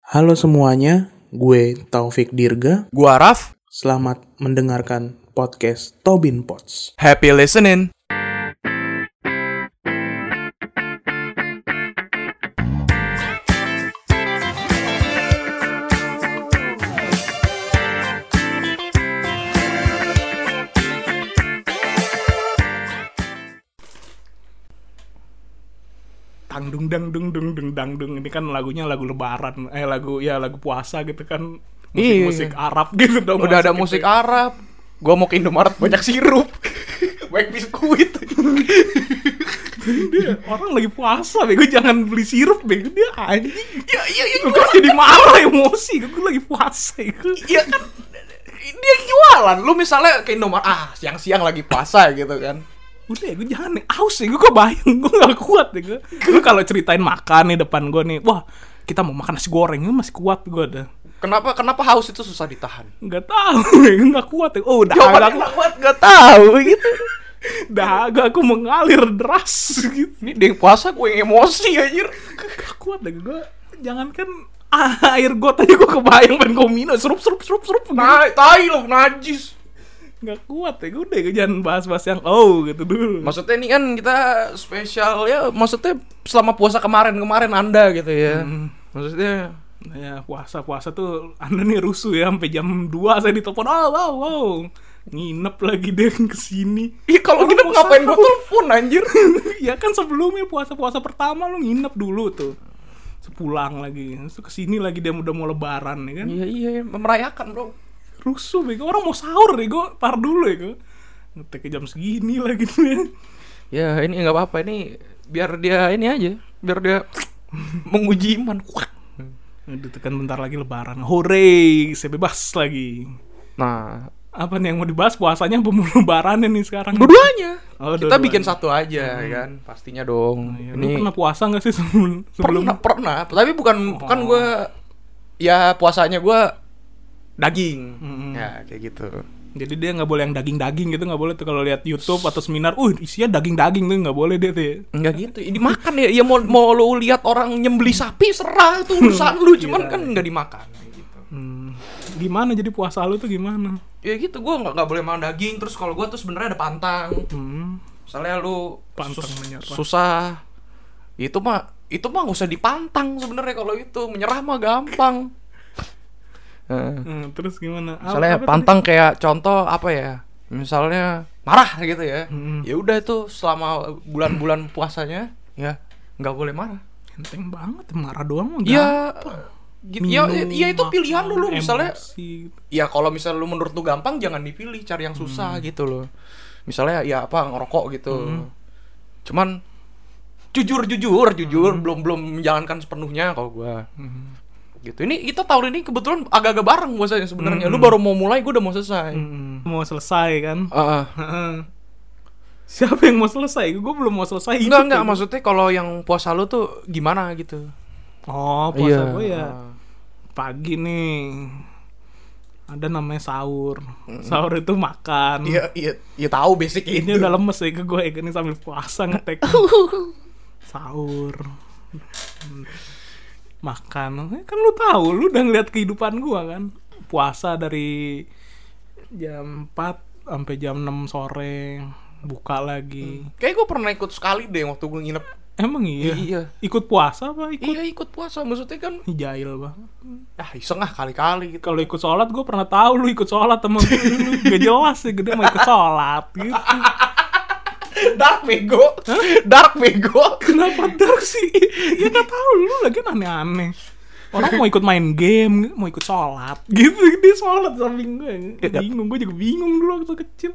Halo semuanya, gue Taufik Dirga. Gua Raf, Selamat mendengarkan podcast Tobin Pots. happy listening. tang dung dang dung dung dung dang dung ini kan lagunya lagu lebaran eh lagu ya lagu puasa gitu kan Iya. musik musik Arab gitu dong Udah ada masuk musik gitu ya. Arab. Gua mau ke Indomaret banyak sirup. banyak biskuit. Dia, orang lagi puasa bego jangan beli sirup bego dia anjing ya, ya, ya, Lu kan jadi marah emosi gue lagi puasa itu ya kan dia jualan. Lu misalnya ke Indomaret, ah siang-siang lagi puasa gitu kan. udah ya, gue jangan nih aus ya gue kok bayang gue gak kuat ya gue lu kalau ceritain makan nih depan gue nih wah kita mau makan nasi goreng ini masih kuat gue dah Kenapa kenapa haus itu susah ditahan? nggak tahu ya, nggak kuat ya oh Jawaban dahaga aku enak banget gak tahu gitu. dahaga aku mengalir deras gitu Ini dia yang puasa gue yang emosi anjir. Gak kuat deh gue Jangankan ah, air got aja gue kebayang pengen gue minum Serup serup serup serup Nah, tai lu najis. Gak kuat ya gue udah jangan bahas-bahas yang oh gitu dulu Maksudnya ini kan kita spesial ya, maksudnya selama puasa kemarin-kemarin Anda gitu ya. Maksudnya Ya puasa-puasa tuh anda nih rusuh ya Sampai jam 2 saya ditelepon Oh wow wow Nginep lagi deh kesini Ih kalau Orang nginep puasa ngapain gua apa? telepon anjir Ya kan sebelumnya puasa-puasa pertama lu nginep dulu tuh Sepulang lagi Terus kesini lagi dia udah mau lebaran ya kan Iya iya iya, merayakan bro rusuh bego orang mau sahur bego par dulu ya gue ngetek ke jam segini lagi nih Ya ini nggak apa-apa ini biar dia ini aja Biar dia menguji iman Kuak. Ditekan bentar lagi lebaran. Hore, saya bebas lagi. Nah Apa nih yang mau dibahas puasanya apa mau lebaran nih sekarang? dua-duanya Oh, Kita dua-duanya. bikin satu aja kan pastinya dong Ya, Lu Ini pernah puasa nggak sih sebelum sebelum pernah, pernah Tapi bukan bukan gue ya puasanya gua daging Mm-mm. Ya kayak gitu jadi dia nggak boleh yang daging-daging gitu nggak boleh tuh kalau lihat YouTube atau seminar, uh isinya daging-daging tuh nggak boleh deh tuh. ya. Enggak gitu, ini makan ya. Ya mau mau lu lihat orang nyembeli sapi serah itu urusan lu, cuman Iya. kan nggak dimakan. Gitu. Hmm. Gimana jadi puasa lu tuh gimana? Ya gitu, gue nggak nggak boleh makan daging. Terus kalau gue tuh sebenarnya ada pantang. Hmm. Misalnya lu Pantang sus- menyerah. susah, itu mah itu mah nggak usah dipantang sebenarnya kalau itu menyerah mah gampang. Eh, Hmm, terus gimana? Apa- misalnya apa pantang kayak contoh apa ya? Misalnya marah gitu ya. Mm-mm. Ya udah itu selama bulan-bulan puasanya ya nggak boleh marah. tadi? Enteng banget marah doang mah. Ya, gitu. Ya, Minum, ya itu pilihan lu, lu makan, misalnya. emosi gitu. Ya kalau misalnya lu menurut lu gampang, jangan dipilih, cari yang susah Hmm. gitu loh. Misalnya ya apa ngerokok gitu. Cuman jujur jujur jujur belum belum menjalankan sepenuhnya kalau gua Hmm. gitu ini kita tahun ini kebetulan agak-agak bareng puasanya sebenarnya lu baru mau mulai gua udah mau selesai Hmm. Mau selesai kan? Heeh. Heeh. Siapa yang mau selesai? Gue belum mau selesai. hidup, enggak enggak ya. maksudnya kalau yang puasa lu tuh gimana gitu Oh, puasa gue ya Ah. pagi nih. Ada namanya sahur. Sahur itu makan. iya iya iya tahu basic Ini ini udah lemes ya ke gue ini sambil puasa ngetek. sahur. Hmm. Makan. Eh, Kan lu tahu, lu udah ngeliat kehidupan gua kan. Puasa dari jam 4 sampai jam 6 sore, buka lagi. kayak gua pernah ikut sekali deh waktu gua nginep Emang iya? Iya. Ikut puasa apa ikut? Iya ikut puasa maksudnya kan Ih, Jahil banget. ah iseng ah kali-kali gitu. Kalau ikut sholat, gue pernah tahu lu ikut sholat temen gue dulu. Gak jelas ya, gede mau ikut sholat gitu. Dark bego. Dark bego. Kenapa dark sih? Ya gak tahu lu lagi aneh-aneh. Orang mau ikut main game, mau ikut sholat gitu. Dia sholat samping gue. Bingung, gue juga bingung dulu waktu kecil.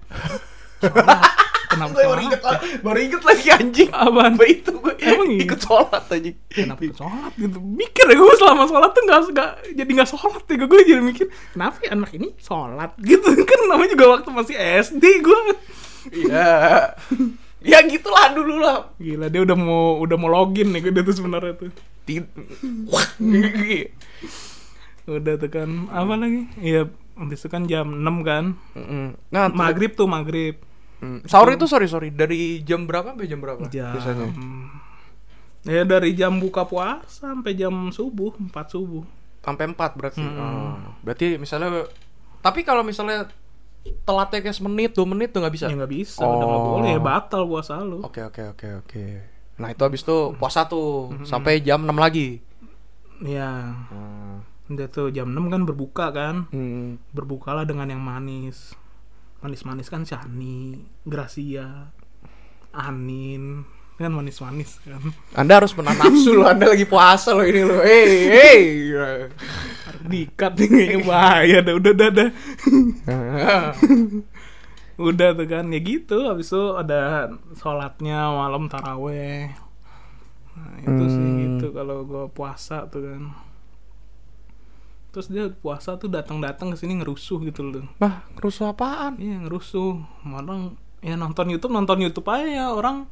Sholat. Kenapa Baru sholat? inget, baru inget lagi anjing. Apaan? Apa itu gue Emang iya? ikut sholat anjing. kenapa ikut sholat gitu mikir ya gue selama sholat tuh nggak nggak jadi nggak sholat ya gue jadi mikir kenapa ya anak ini sholat gitu kan namanya juga waktu masih SD gue Iya. ya gitulah dulu lah. gila dia udah mau udah mau login nih dia tuh sebenarnya tuh Tid- udah tuh kan apa lagi ya habis itu kan jam 6 kan Mm-mm. nah, tuh- maghrib tuh maghrib Mm. Sahur itu sorry sorry dari jam berapa sampai jam berapa jam biasanya? ya dari jam buka puasa sampai jam subuh 4 subuh sampai 4 berarti. Oh, berarti misalnya tapi kalau misalnya telatnya kayak semenit, dua menit tuh nggak bisa. Ya nggak bisa, udah nggak Oh. boleh ya batal puasa lu. Oke, oke, oke, oke. Mm-hmm. Nah, itu habis itu puasa tuh sampai jam 6 lagi. Ya, udah tuh jam 6 kan berbuka kan. Hmm. Berbukalah dengan yang manis. Manis-manis kan Shani, Gracia, Anin. Kan manis-manis kan. Anda harus menahan nafsu loh, Anda lagi puasa loh ini loh. Hey, hey. Dikat nih kayaknya bahaya dah. Udah, udah, udah. udah tuh kan. Ya gitu, habis itu ada sholatnya malam taraweh. Nah, itu sih Hmm. gitu kalau gua puasa tuh kan. Terus dia puasa tuh datang-datang ke sini ngerusuh gitu loh. Bah, kerusuh Nah, apaan? Iya ngerusuh Orang ya nonton Youtube Nonton Youtube aja ya Orang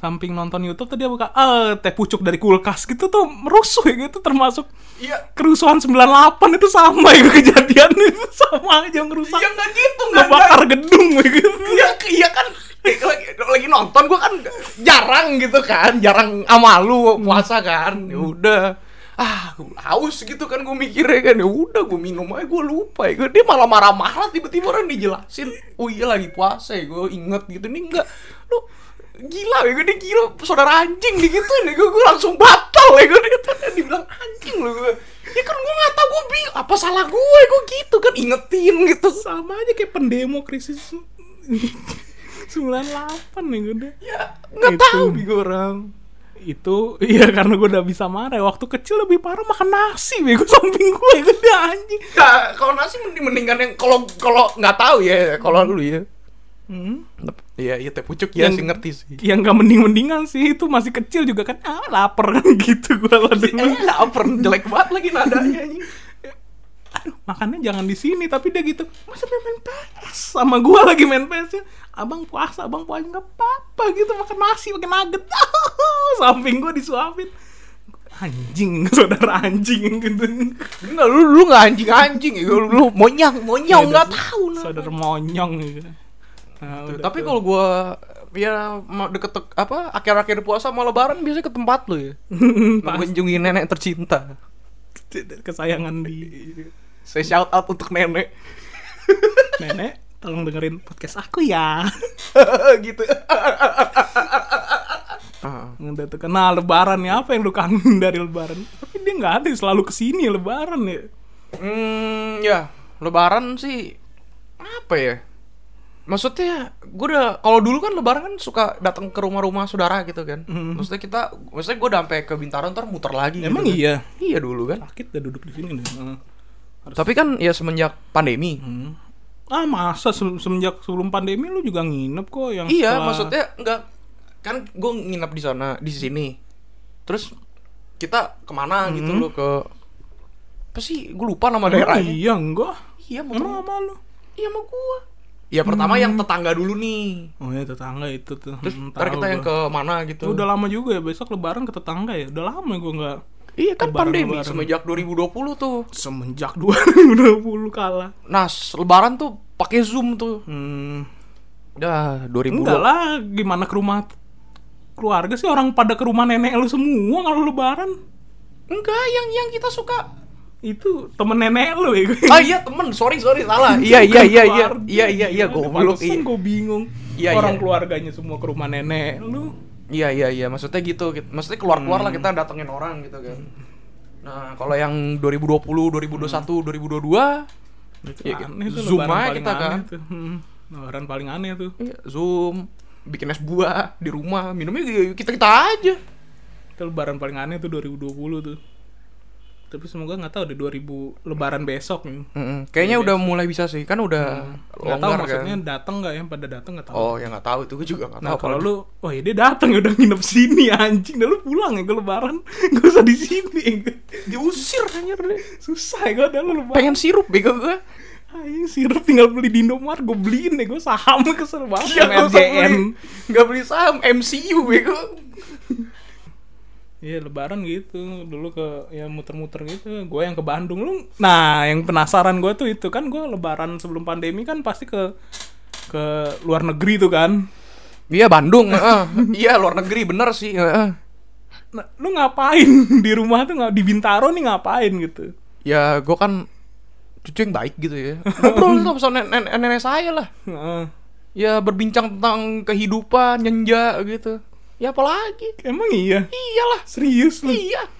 samping nonton Youtube tadi buka eh teh pucuk dari kulkas gitu tuh merusuh ya gitu termasuk Iya, kerusuhan 98 itu sama ya kejadian itu sama aja ngerusak ya nggak gitu, nggak ngebakar gedung ya gitu Iya, iya kan lagi, lagi nonton gua kan jarang gitu kan, jarang sama lu puasa kan. Ya udah. Ah, haus gitu kan gue mikirnya kan. Ya udah gue minum aja gue lupa ya. Dia malah marah-marah tiba-tiba orang dijelasin. Oh iya lagi puasa ya, gue inget gitu. Ini enggak lu gila ya gue dia gila saudara anjing gitu nih gue langsung batal ya gue dia dibilang anjing lu gue ya kan gue nggak tahu gue bingung apa salah gue gue gitu kan ingetin gitu sama aja kayak pendemo krisis 98 ya gue deh ya nggak Itu. tahu gue orang itu iya karena gue udah bisa marah waktu kecil lebih parah makan nasi bego samping gue gede anjing Nah, kalau nasi mending mendingan yang kalau kalau nggak tahu ya kalau lu ya. hmm. Iya iya teh pucuk ya Yang- sih ngerti sih. yang gak mending-mendingan sih itu masih kecil juga kan ah lapar kan gitu gua lah dulu Eh, lapar jelek banget lagi nadanya anjing. aduh makannya jangan di sini tapi dia gitu masa dia main PS sama gua lagi main PS ya abang puasa abang puasa nggak apa-apa gitu makan nasi makan nugget samping gua disuapin anjing saudara anjing gitu Enggak lu lu nggak anjing-anjing ya lu, lu monyang monyang nggak tahu nah. saudara monyong gitu Nah, Tuh, udah Tapi tuh. kalau gua ya ma- deket dek- apa akhir-akhir puasa mau lebaran biasanya ke tempat lu ya. Mengunjungi nenek tercinta. kesayangan di Iya. Saya shout out untuk nenek nenek tolong dengerin podcast aku ya gitu. Ah, Udah tuh kenal lebaran ya apa yang lu kangen dari lebaran? Tapi dia nggak ada selalu kesini lebaran ya. Hmm, ya Lebaran sih apa ya? Maksudnya, gue udah kalau dulu kan Lebaran kan suka datang ke rumah-rumah saudara gitu kan. Maksudnya kita, maksudnya gue udah sampai ke Bintaro ntar muter lagi. gitu Hmm. Emang kan. iya. Iya dulu kan. Sakit dah duduk di sini nih. Heeh. Tapi kan ya semenjak pandemi. Ah masa se- semenjak sebelum pandemi lu juga nginep kok yang Iya, setelah- maksudnya nggak kan gue nginep di sana di sini. Terus kita kemana Hmm. gitu loh ke apa sih? Gue lupa nama Emang daerahnya. iya enggak? Iya, muter. Emang sama lu? Iya sama gue. Ya pertama iya. yang tetangga dulu nih. Oh ya tetangga itu tuh. Terus Hmm, ntar tahu kita yang gua. ke mana gitu. Udah lama juga ya besok lebaran ke tetangga ya. Udah lama gua nggak Iya kan Lebaran, pandemi lebaran. semenjak 2020 tuh. semenjak 2020 kalah. Nah, s- lebaran tuh pakai Zoom tuh. Hmm. Dah, 2020. Enggak lah, gimana ke rumah keluarga sih orang pada ke rumah nenek lu semua kalau lebaran. Enggak, yang yang kita suka. itu temen nenek lu ya Ah iya, temen. Sorry, sorry, salah. Iya, iya, iya, iya. Iya, iya, iya, goblok. Iya. gue bingung Iya, iya. orang keluarganya semua ke rumah nenek lu Iya, iya, iya. Maksudnya gitu. gitu. Maksudnya keluar-keluar Hmm. lah kita datengin orang gitu kan. Nah, kalau yang 2020, 2021, Hmm. 2022 Ya, aneh tuh zoom lebaran aja paling kita aneh kan. tuh. Hmm, lebaran paling aneh tuh iya, Zoom, bikin es buah di rumah, minumnya ya, kita-kita aja. itu lebaran paling aneh tuh 2020 tuh tapi semoga nggak tahu deh 2000 lebaran besok nih Mm-mm. Kayaknya udah mulai bisa sih, kan udah Iya, Hmm. nggak tahu longgar maksudnya kan. datang nggak ya pada datang nggak tahu Oh, ya nggak tahu itu gue juga nggak Nah tahu. kalau lu, wah ya dia datang ya udah nginep sini anjing, dah lu pulang ya gue lebaran, gak usah di sini, diusir anjir deh. susah ya gue udah lu lebaran. Pengen sirup bego gue. Ayo sirup tinggal beli di Indomaret, gue beliin deh, gue saham kesel Iya, banget sama gak usah RJN. beli- Gak beli saham MCU bego. Iya lebaran gitu, dulu ke ya muter-muter gitu, gue yang ke Bandung lu. Nah yang penasaran gue tuh itu kan gue lebaran sebelum pandemi kan pasti ke ke luar negeri tuh kan. Iya Bandung, heeh. iya luar negeri bener sih. heeh. Nah, lu ngapain di rumah tuh nggak di Bintaro nih ngapain gitu? ya gue kan cucu yang baik gitu ya ngobrol lah sama nen- nen- nenek saya lah Heeh. ya berbincang tentang kehidupan nyenja gitu ya apalagi Emang iya? iyalah Serius lu? iya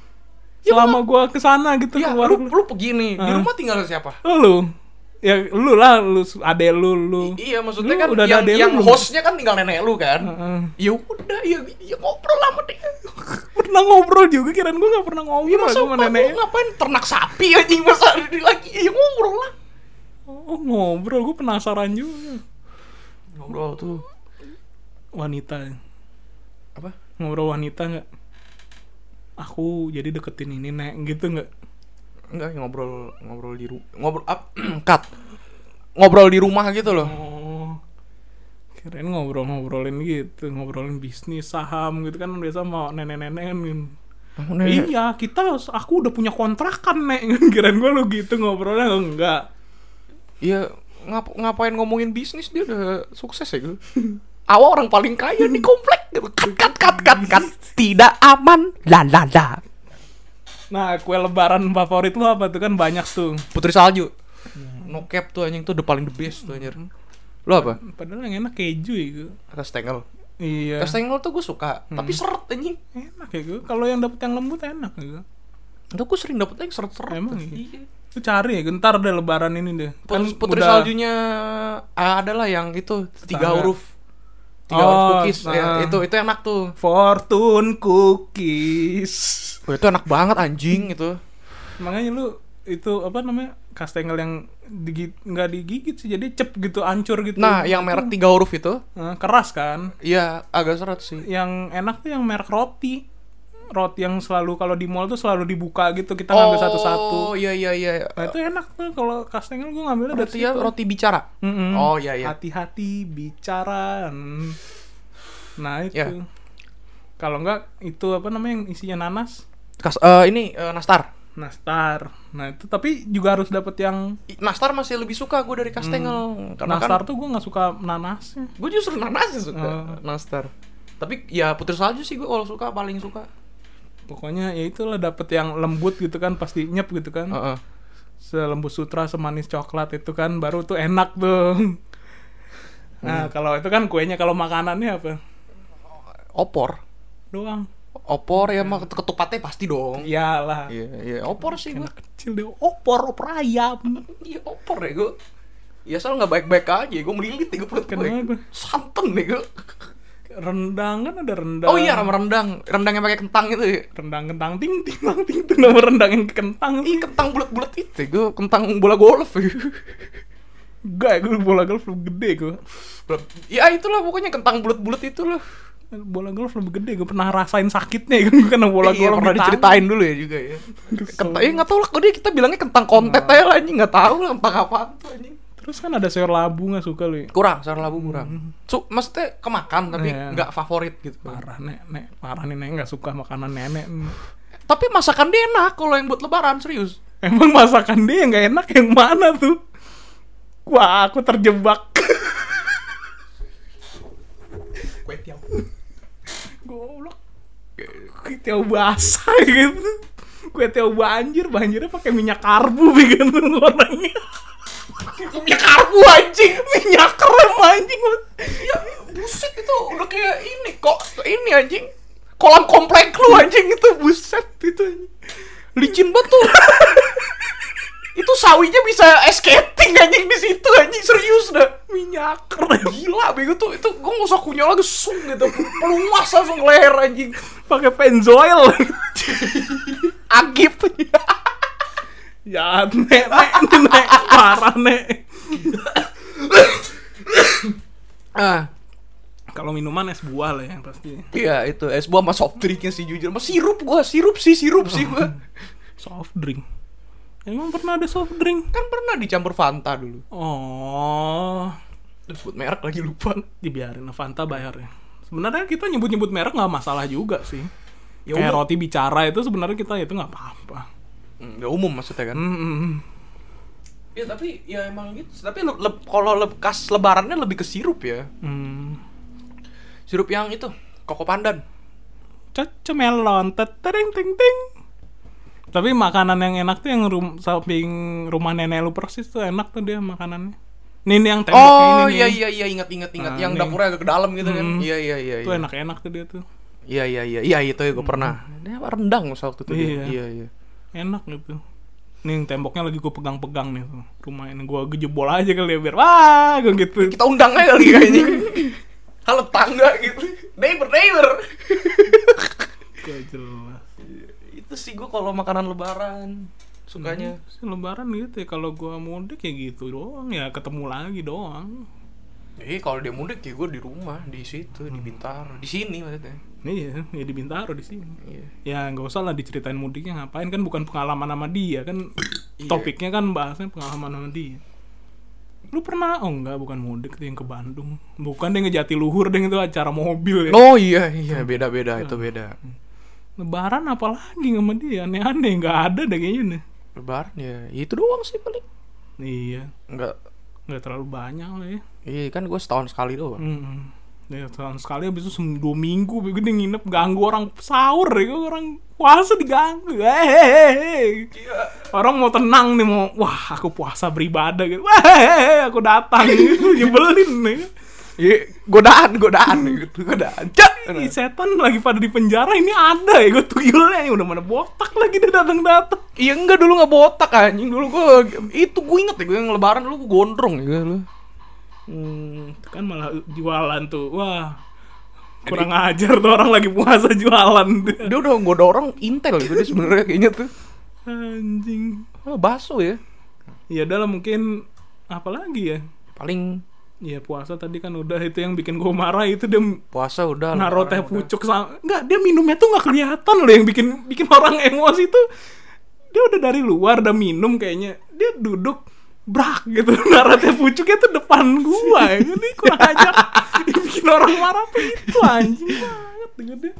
Selama gua kesana gitu ya keluar lu, lu begini di Ah. rumah tinggal sama siapa lu ya lu lah lu ade lu lu Iya maksudnya Lu kan udah ada yang, adek lu yang belum? hostnya kan tinggal nenek lu kan. Heeh. Ya udah ya, ya ngobrol sama dia. Ya pernah ngobrol juga kirain gua nggak pernah ngobrol Iya, Masa sama apa, nenek lu ngapain ternak sapi anjing masa ada dia lagi ya ngobrol lah. oh ngobrol gua penasaran juga Ngobrol tuh wanita apa? ngobrol wanita nggak aku jadi deketin ini nek gitu nggak Enggak ya ngobrol ngobrol di ru- ngobrol up cut. Ngobrol di rumah gitu loh. oh kirain ngobrol-ngobrolin gitu ngobrolin bisnis saham gitu kan biasa mau nenek-nenek kan Nah. iya kita aku udah punya kontrakan nek kirain gua lu gitu ngobrolnya enggak Iya ngap- ngapain ngomongin bisnis dia udah sukses ya gitu. Awal orang paling kaya di komplek gitu. Cut cut cut cut cut. Tidak aman. La la la. Nah, kue lebaran favorit lu apa tuh kan banyak tuh. Putri Salju. No cap tuh anjing tuh the paling the best tuh anjir. Lo apa? Padahal yang enak keju itu. Kastengel. Iya. Hmm. Kastengel tuh gue suka, tapi seret anjing. Enak ya gue. Kalau yang dapet yang lembut enak ya gue. Itu gue sering dapet yang seret-seret. Emang iya. Lu cari ya, gue. ntar deh lebaran ini deh. Kan Putri, putri udah- saljunya ah, adalah yang itu tiga Tetangga. huruf. Tiga Oh, huruf cookies. nah. Ya, itu itu enak tuh. Fortune cookies. Oh, itu enak banget anjing itu. Makanya lu itu apa namanya? Kastengel yang digigit nggak digigit sih jadi cep gitu hancur gitu. Nah, yang merek tiga huruf itu, Nah, keras kan? iya agak seret sih. yang enak tuh yang merek roti roti yang selalu kalau di mall tuh selalu dibuka gitu kita ngambil Oh, satu-satu iya iya iya. nah itu enak tuh kalau kastengel gue ngambilnya dari Roti ya, situ. roti bicara. Mm-mm. Oh iya iya. hati-hati bicara Mm. nah itu Ya. kalau enggak itu apa namanya yang isinya nanas Kas, eh, ini eh, nastar. nastar nah itu tapi juga harus dapet yang I- Nastar masih lebih suka gue dari kastengel. Karena kan- Hmm. nastar tuh gue nggak suka nanasnya Gue justru nanas suka Oh. nastar. Tapi ya putri salju sih gue kalau suka paling suka. pokoknya ya itulah dapet yang lembut gitu kan pasti nyep gitu kan Heeh. selembut sutra semanis coklat itu kan baru tuh enak tuh. Hmm. Nah, kalau itu kan kuenya kalau makanannya apa? Opor. Doang. Opor ya mah ketupatnya pasti dong. Iyalah. Iya, iya opor sih gue. Kecil deh opor, opor ayam. Iya opor ya gue. Ya soal nggak baik-baik aja, gue melilit ya gue perut gue. Kenapa? Santan deh gue. Rendang kan ada rendang. Oh iya sama rendang, rendang yang pakai kentang itu. ya. rendang kentang ting ting tang, ting itu nama rendang yang kentang. Ih kentang bulat-bulat itu, gue kentang bola golf. ya. Enggak, ya, gue bola golf lebih gede gue. ya itulah pokoknya kentang bulat-bulat itu loh. Bola golf lebih gede, gue pernah rasain sakitnya kan gue kena bola Eh, iya, golf pernah di tangan. diceritain dulu ya juga ya. Kentang, ya nggak tahu lah, kok dia kita bilangnya kentang kontet aja lah anjing, nggak tahu lah kentang apa tuh anjing. Terus kan ada sayur labu nggak suka lu. ya? Kurang, sayur labu kurang. Su, maksudnya kemakan tapi Iya. nggak favorit gitu. Parah nek, nek, parah nih nek nggak suka makanan nenek. Tapi masakan dia enak kalau yang buat lebaran serius. Emang masakan dia yang gak enak yang mana tuh? Wah, aku terjebak. Kue tiaw. Goblok. Kue tiaw basah gitu. Kue tiaw banjir, banjirnya pakai minyak karbu bikin orangnya. Minyak karbu anjing. Minyak krem anjing. Ya buset itu udah kayak ini kok ini anjing. Kolam komplek lu anjing itu buset itu anjing. Licin banget tuh. itu sawinya bisa ice skating anjing di situ anjing serius dah. Minyak krem. Gila bego tuh itu gua nggak usah kunyah lagi sung gitu. Peluas langsung ke leher anjing. Pakai penzoil. Agip. ya, nek, nek, nek, parah nek. ah. Kalau minuman es buah lah yang pasti. Iya itu es buah sama soft drinknya sih jujur Mas sirup gua, sirup sih, sirup sih gua Soft drink. Emang pernah ada soft drink? Kan pernah dicampur Fanta dulu Oh, Terus buat merek lagi lupa dibiarin Fanta bayarnya. Sebenarnya kita nyebut-nyebut merek nggak masalah juga sih. Ya Kayak umum, roti bicara itu sebenarnya kita itu nggak apa-apa. hmm, Hmm, ya umum maksudnya kan Mm-mm. Ya tapi ya emang gitu Tapi le- le- kalau le- kas lebarannya lebih ke sirup ya Mm. Sirup yang itu, koko pandan Cocomelon, tetering ting ting. Tapi makanan yang enak tuh yang rum samping rumah nenek lu persis tuh enak tuh dia makanannya. Ini nih yang tembok Oh ini iya nih. iya iya ingat ingat ingat Nah, yang ini. dapurnya agak ke dalam gitu kan. Hmm. Iya iya iya. Itu iya. enak-enak tuh dia tuh. Iya iya iya iya itu ya gue pernah. Dia apa, rendang masa waktu itu. dia. Iya. Iya iya. Enak gitu. Nih yang temboknya lagi gue pegang-pegang nih tuh. Rumah ini gue gejebol aja kali ya biar wah gue gitu. Kita undang aja kali kayaknya. Halo tangga gitu. Neighbor neighbor. Gak jelas. itu sih gue kalau makanan lebaran sukanya. Sih, lebaran gitu ya kalau gua mudik ya gitu doang ya ketemu lagi doang. Eh kalau dia mudik ya gue di rumah di situ di Bintaro di sini maksudnya. Iya, ya di Bintaro di sini. Iya. Ya nggak usah lah diceritain mudiknya ngapain kan bukan pengalaman sama dia kan Iya. topiknya kan bahasnya pengalaman sama dia. Lu pernah oh enggak bukan mudik tuh yang ke Bandung. Bukan deh ngejati luhur deh itu acara mobil ya. Oh iya iya beda beda itu beda. Lebaran apalagi sama dia aneh-aneh nggak ada deh kayaknya nih. Lebaran ya itu doang sih paling. Iya, Enggak nggak terlalu banyak lah ya. Iya kan gue setahun sekali doang. Hmm. Ya, setahun sekali habis itu sem- dua minggu gue gede nginep ganggu orang sahur ya orang puasa diganggu. Eh, Hehehe. eh. Orang mau tenang nih mau wah aku puasa beribadah gitu. Wah, hehehe, aku datang gitu nyebelin nih. Iya, godaan, godaan gitu, godaan. Cak. Ini setan lagi pada di penjara ini ada ya gue tuyulnya udah mana botak lagi dia datang-datang. Iya enggak dulu nggak botak anjing dulu gue itu gue inget ya gue yang lebaran dulu gue gondrong ya lu. Hmm, itu kan malah jualan tuh. Wah. Kurang ajar tuh orang lagi puasa jualan. Dia udah gue orang intel gitu dia sebenarnya kayaknya tuh. Anjing. Ah, baso ya. Ya udah lah mungkin apa lagi ya? Paling Ya puasa tadi kan udah itu yang bikin gue marah itu dia puasa udah. naruh lebaran teh udah. pucuk sama nggak dia minumnya tuh nggak kelihatan loh yang bikin bikin orang emosi tuh dia udah dari luar udah minum kayaknya dia duduk brak gitu naruh teh pucuknya tuh depan gua ya. ini kurang ajar Yang bikin orang marah tuh itu anjing banget dengan dia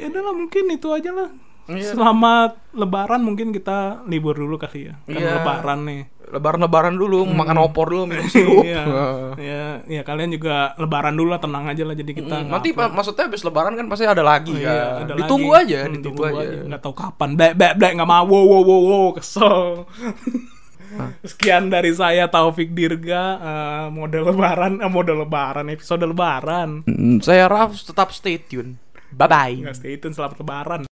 ya udah lah mungkin itu aja lah Iya. selamat lebaran mungkin kita libur dulu kali ya kan Iya. lebaran nih Lebaran-lebaran dulu makan opor dulu minum sirup. Hmm. iya. Nah. Iya, iya, kalian juga lebaran dulu lah, tenang aja lah jadi kita. Hmm, nggak Nanti upload. pa- maksudnya habis lebaran kan pasti ada lagi Iya, ya. ada ditunggu lagi. aja, Hmm, ditunggu, aja. Nggak tahu kapan. Blek blek blek nggak mau. Wow wow wow, wow, kesel. Sekian dari saya Taufik Dirga eh, model lebaran eh, model lebaran episode lebaran. Hmm, Saya Raf tetap stay tune. Bye bye. Nggak stay tune selamat lebaran.